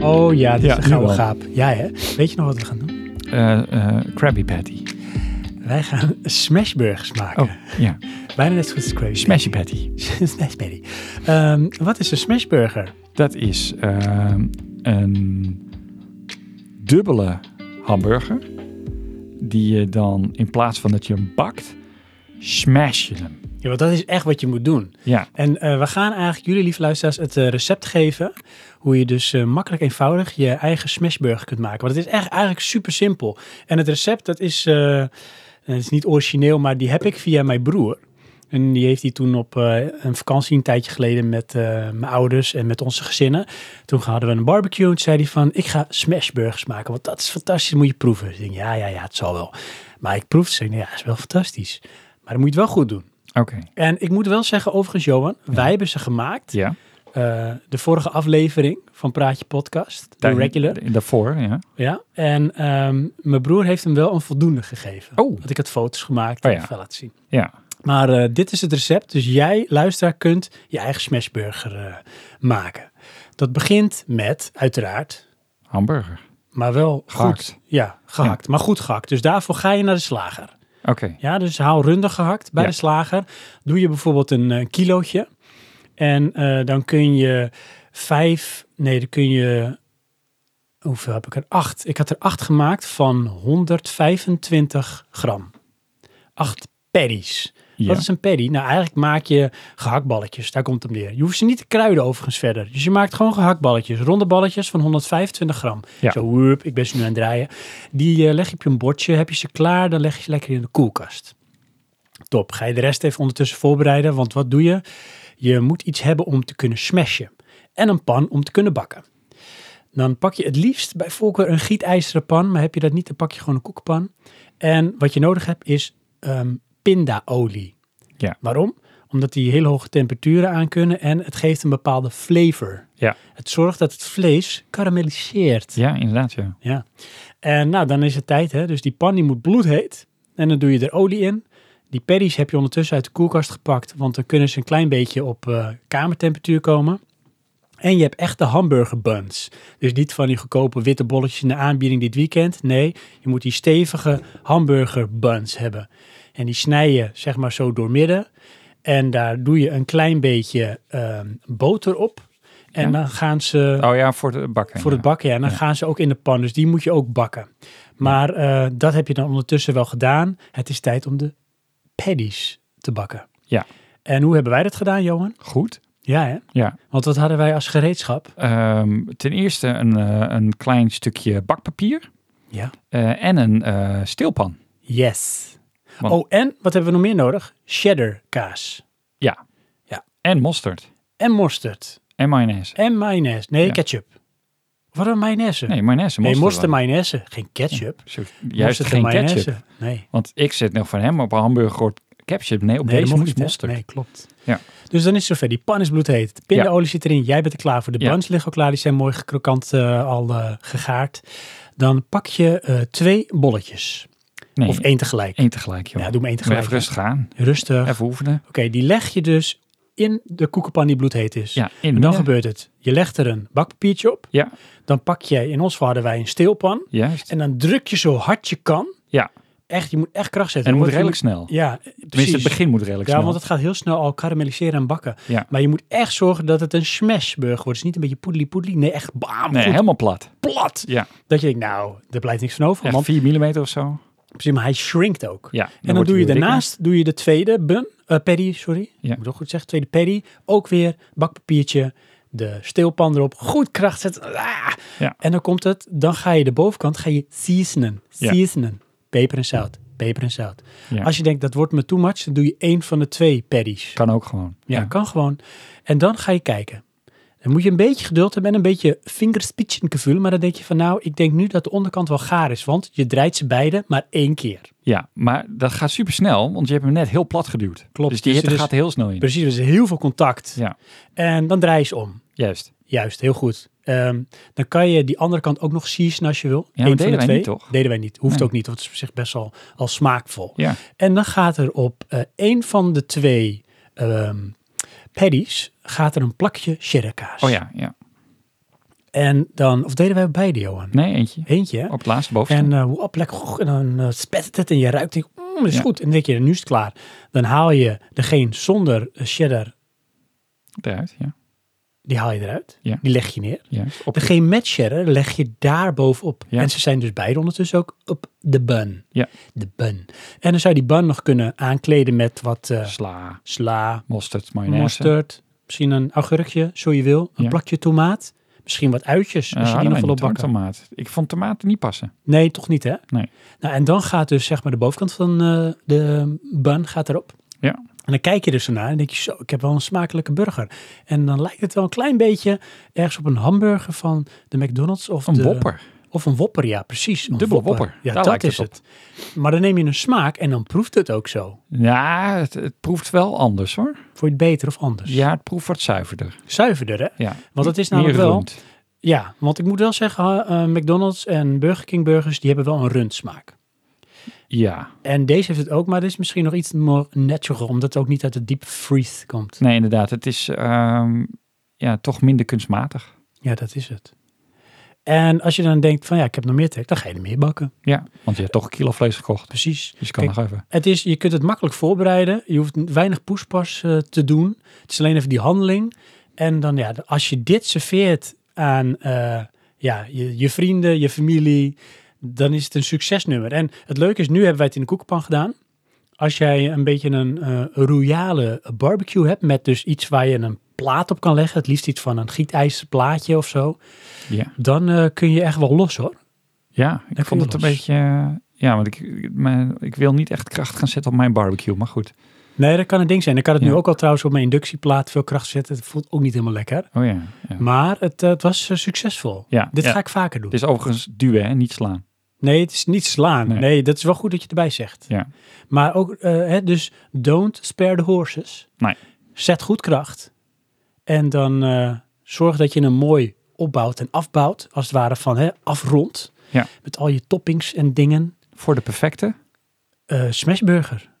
Oh ja, dit Ja, is een nu gouden al. gaap. Ja, hè? Weet je nog wat we gaan doen? Eh, eh, Krabby Patty. Wij gaan smashburgers maken. Oh, ja. Bijna net zo goed als Krabby Smashy Patty. Patty. Smash Patty. Ehm, wat is een smashburger? Dat is ehm, een dubbele hamburger. Die je dan in plaats van dat je hem bakt, smash je hem. Ja, want dat is echt wat je moet doen. Ja, En eh, we gaan eigenlijk jullie, lieve luisteraars, het eh, recept geven. Hoe je dus eh, makkelijk eenvoudig je eigen smashburger kunt maken. Want het is echt eigenlijk super simpel. En het recept, dat is, eh, het is niet origineel, maar die heb ik via mijn broer. En die heeft die toen op eh, een vakantie een tijdje geleden met eh, mijn ouders en met onze gezinnen. Toen hadden we een barbecue en toen zei hij van, ik ga smashburgers maken. Want dat is fantastisch, dat moet je proeven. Dus ik denk, ja, ja, ja, het zal wel. Maar ik proefde, zei ik, ja, het is wel fantastisch. Maar dan moet je het wel goed doen. oké. En ik moet wel zeggen, overigens, Johan, wij hebben ze gemaakt. Ja. Eh, de vorige aflevering van Praatje Podcast, de Daar- regular. Daarvoor, ja. Ja. En ehm, mijn broer heeft hem wel een voldoende gegeven. Oh. Want ik had foto's gemaakt Oh en ja. ik ga laten zien. Ja, Maar eh, dit is het recept. Dus jij, luisteraar, kunt je eigen smashburger eh, maken. Dat begint met, uiteraard, hamburger. maar wel goed. Gehakt. Ja, gehakt. Maar goed gehakt. Dus daarvoor ga je naar de slager. Oké. Ja, dus haal runder gehakt bij Ja. de slager. Doe je bijvoorbeeld een eh, kilootje. En eh, dan kun je vijf, nee, dan kun je, hoeveel heb ik er? Acht. Ik had er acht gemaakt van 125 gram. Acht paddies. Ja. Wat is een paddy? Nou, eigenlijk maak je gehaktballetjes. Daar komt het neer. Je hoeft ze niet te kruiden overigens verder. Dus je maakt gewoon gehaktballetjes. Ronde balletjes van 125 gram. Ja. Zo, woep, ik ben ze nu aan het draaien. Die eh, leg je op je bordje. Heb je ze klaar, dan leg je ze lekker in de koelkast. Top. Ga je de rest even ondertussen voorbereiden. Want wat doe je? Je moet iets hebben om te kunnen smashen. En een pan om te kunnen bakken. Dan pak je het liefst bij voorkeur een gietijzeren pan. Maar heb je dat niet, dan pak je gewoon een koekpan. En wat je nodig hebt is ehm, pindaolie. Ja. Waarom? Omdat die hele hoge temperaturen aan kunnen en het geeft een bepaalde flavor. Ja. Het zorgt dat het vlees karamelliseert. ja, inderdaad, ja. Ja. En nou, dan is het tijd, hè? Dus die pan die moet bloedheet. En dan doe je er olie in. Die paddies heb je ondertussen uit de koelkast gepakt, want dan kunnen ze een klein beetje op eh, kamertemperatuur komen. En je hebt echte hamburger buns. Dus niet van die goedkope witte bolletjes in de aanbieding dit weekend. Nee, je moet die stevige hamburger buns hebben. En die snij je zeg maar zo doormidden. En daar doe je een klein beetje ehm, boter op. En Ja. dan gaan ze Oh ja, voor het bakken. voor het ja. bakken, ja. En dan gaan ze ook in de pan, dus die moet je ook bakken. Maar eh, dat heb je dan ondertussen wel gedaan. Het is tijd om de paddies te bakken. Ja. En hoe hebben wij dat gedaan, Johan? Goed. Ja, hè? Ja. Want wat hadden wij als gereedschap? Ehm, ten eerste een, eh, een klein stukje bakpapier Ja. eh, en een eh steelpan. Yes. Want- Oh, en wat hebben we nog meer nodig? Cheddar kaas. Ja. Ja. En mosterd. En mosterd. En mayonaise. En mayonaise. Nee, Ja. ketchup. Wat een mayonaise? Nee, mayonaise. nee mosterd mosterd wel. mayonaise. Geen ketchup. Zo- Juist Mosterd en geen mayonaise. ketchup. Nee. Want ik zit nog van hem op een hamburger hoort ketchup. Nee, op Nee, dat deze mocht moest niet, hè? mosterd. Nee, klopt. Ja. Dus dan is het zover. Die pan is bloedheet. De pindaolie zit erin. Jij bent er klaar voor. De Ja. buns liggen al klaar. Die zijn mooi krokant eh, al eh, gegaard. Dan pak je eh, twee bolletjes. Nee, Of één tegelijk. één tegelijk, joh. Ja, doe hem één Moet je tegelijk. even rustig aan. Rustig. Oké, Even oefenen. die leg je dus in de koekenpan die bloedheet is. Ja, in en dan midden. gebeurt het. Je legt er een bakpapiertje op. Ja, Dan pak je, in ons geval hadden wij een steelpan. juist. En dan druk je zo hard je kan. ja, Echt, je moet echt kracht zetten. en het moet Dan redelijk wordt snel. je- Ja, Tenminste, het precies. begin moet redelijk Ja, snel. want het gaat heel snel al karamelliseren en bakken. Ja. Maar je moet echt zorgen dat het een smashburger wordt. Dus niet een beetje poedeli poedeli. Nee, echt bam, Nee, goed helemaal plat. plat. Ja, Dat je denkt, nou, daar blijft niks van over. echt Want, 4 mm of zo. precies, maar hij shrinkt ook. Ja, en dan wordt doe je hij weer daarnaast doe je de tweede bun, eh paddy, sorry. Ja. Ik moet ook goed zeggen, tweede paddy. Ook weer bakpapiertje, de steelpan erop. Goed kracht zetten. Ah. Ja. En dan komt het, dan ga je de bovenkant ga je seasonen. Ja. Seasonen. Peper en zout. Peper en zout. dikker. Ja, Als je denkt, dat wordt me too much, dan doe je één van de twee paddies. kan ook gewoon. Ja, kan gewoon. En dan ga je kijken. Dan moet je een beetje geduld hebben en een beetje vingerspitsengevoel. Maar dan denk je van nou, ik denk nu dat de onderkant wel gaar is. Want je draait ze beide maar één keer. Ja, maar dat gaat super snel, want je hebt hem net heel plat geduwd. Klopt, Dus die dus hitte het is- gaat er heel snel in. Precies, er is heel veel contact. Ja, En dan draai je ze om. juist. Juist, heel goed. Ehm, dan kan je die andere kant ook nog season als je wil. Eén maar van deden de wij twee. niet, toch? Deden wij niet. Hoeft Nee. ook niet, want het is op zich best wel al smaakvol. Ja, En dan gaat er op eh één van de twee ehm paddies gaat er een plakje cheddar kaas. oh ja, ja. En dan, of deden wij beide, Johan? Nee, eentje. Eentje, hè? Op het laatste bovenste. En eh op, lekker, goh, en dan eh, spettert het en je ruikt, denk, mm, dat is Ja. goed. En dan denk je, nu is het klaar. Dan haal je degene zonder eh, cheddar, Eruit, ja. die haal je eruit. Ja. Die leg je neer. Juist. Op Degene met cheddar leg je daar bovenop. Ja. En ze zijn dus beide ondertussen ook op de bun. Ja. De bun. En dan zou je die bun nog kunnen aankleden met wat eh, sla, sla, mosterd, mayonaise. mosterd, misschien een augurkje, zo je wil. Een Ja. plakje tomaat. Misschien wat uitjes, Eh, als je die hadden nog wil wij niet, hoor, opbakken. tomaat. Ik vond tomaten niet passen. Nee, toch niet, hè? Nee. Nou, en dan gaat dus zeg maar de bovenkant van eh, de bun gaat erop. Ja. En dan kijk je dus ernaar en denk je, zo, ik heb wel een smakelijke burger. En dan lijkt het wel een klein beetje ergens op een hamburger van de McDonald's of Een de, wopper. Of een wopper, ja, precies. Een Dubbel wopper. Ja, Daar dat lijkt het is op. het. Maar dan neem je een smaak en dan proeft het ook zo. Ja, het, het proeft wel anders hoor. Vond je het beter of anders? Ja, het proeft wat zuiverder. Zuiverder, hè? Ja. Want het is Meer namelijk wel- rund. Ja, want ik moet wel zeggen, eh, eh, McDonald's en Burger King burgers, die hebben wel een rundsmaak. Ja. En deze heeft het ook, maar dit is misschien nog iets more natural, omdat het ook niet uit de deep freeze komt. Nee, inderdaad. Het is ehm, ja, toch minder kunstmatig. Ja, dat is het. En als je dan denkt van ja, ik heb nog meer trek, dan ga je er meer bakken. Ja, want je hebt toch een kilo vlees gekocht. Precies. Dus je kan Kijk, nog even. Het is, je kunt het makkelijk voorbereiden. Je hoeft weinig poespas eh, te doen. Het is alleen even die handeling. En dan ja, als je dit serveert aan eh, ja, je, je vrienden, je familie, dan is het een succesnummer. En het leuke is, nu hebben wij het in de koekenpan gedaan. Als jij een beetje een eh royale barbecue hebt met dus iets waar je een plaat op kan leggen, het liefst iets van een gietijzer plaatje of zo, Ja, dan eh, kun je echt wel los hoor. ja ik kun vond je het een los. beetje... eh, Ja, want ik, ik- mijn, ik wil niet echt kracht gaan zetten op mijn barbecue. Maar goed. Nee, dat kan een ding zijn. Ik kan het Ja. nu ook al trouwens op mijn inductieplaat veel kracht zetten. Het voelt ook niet helemaal lekker. Oh ja. ja. Maar het, eh, het was eh, succesvol. ja Dit ja. ga ik vaker doen. Het is overigens duwen, hè? niet slaan. Nee, het is niet slaan. Nee. Nee. dat is wel goed dat je het erbij zegt. Ja. Maar ook, eh, hè, dus don't spare the horses. Nee. Zet goed kracht. En dan eh, zorg dat je een mooi opbouwt en afbouwt. Als het ware van hè, afrond. Ja. Met al je toppings en dingen. Voor de perfecte. Eh smashburger.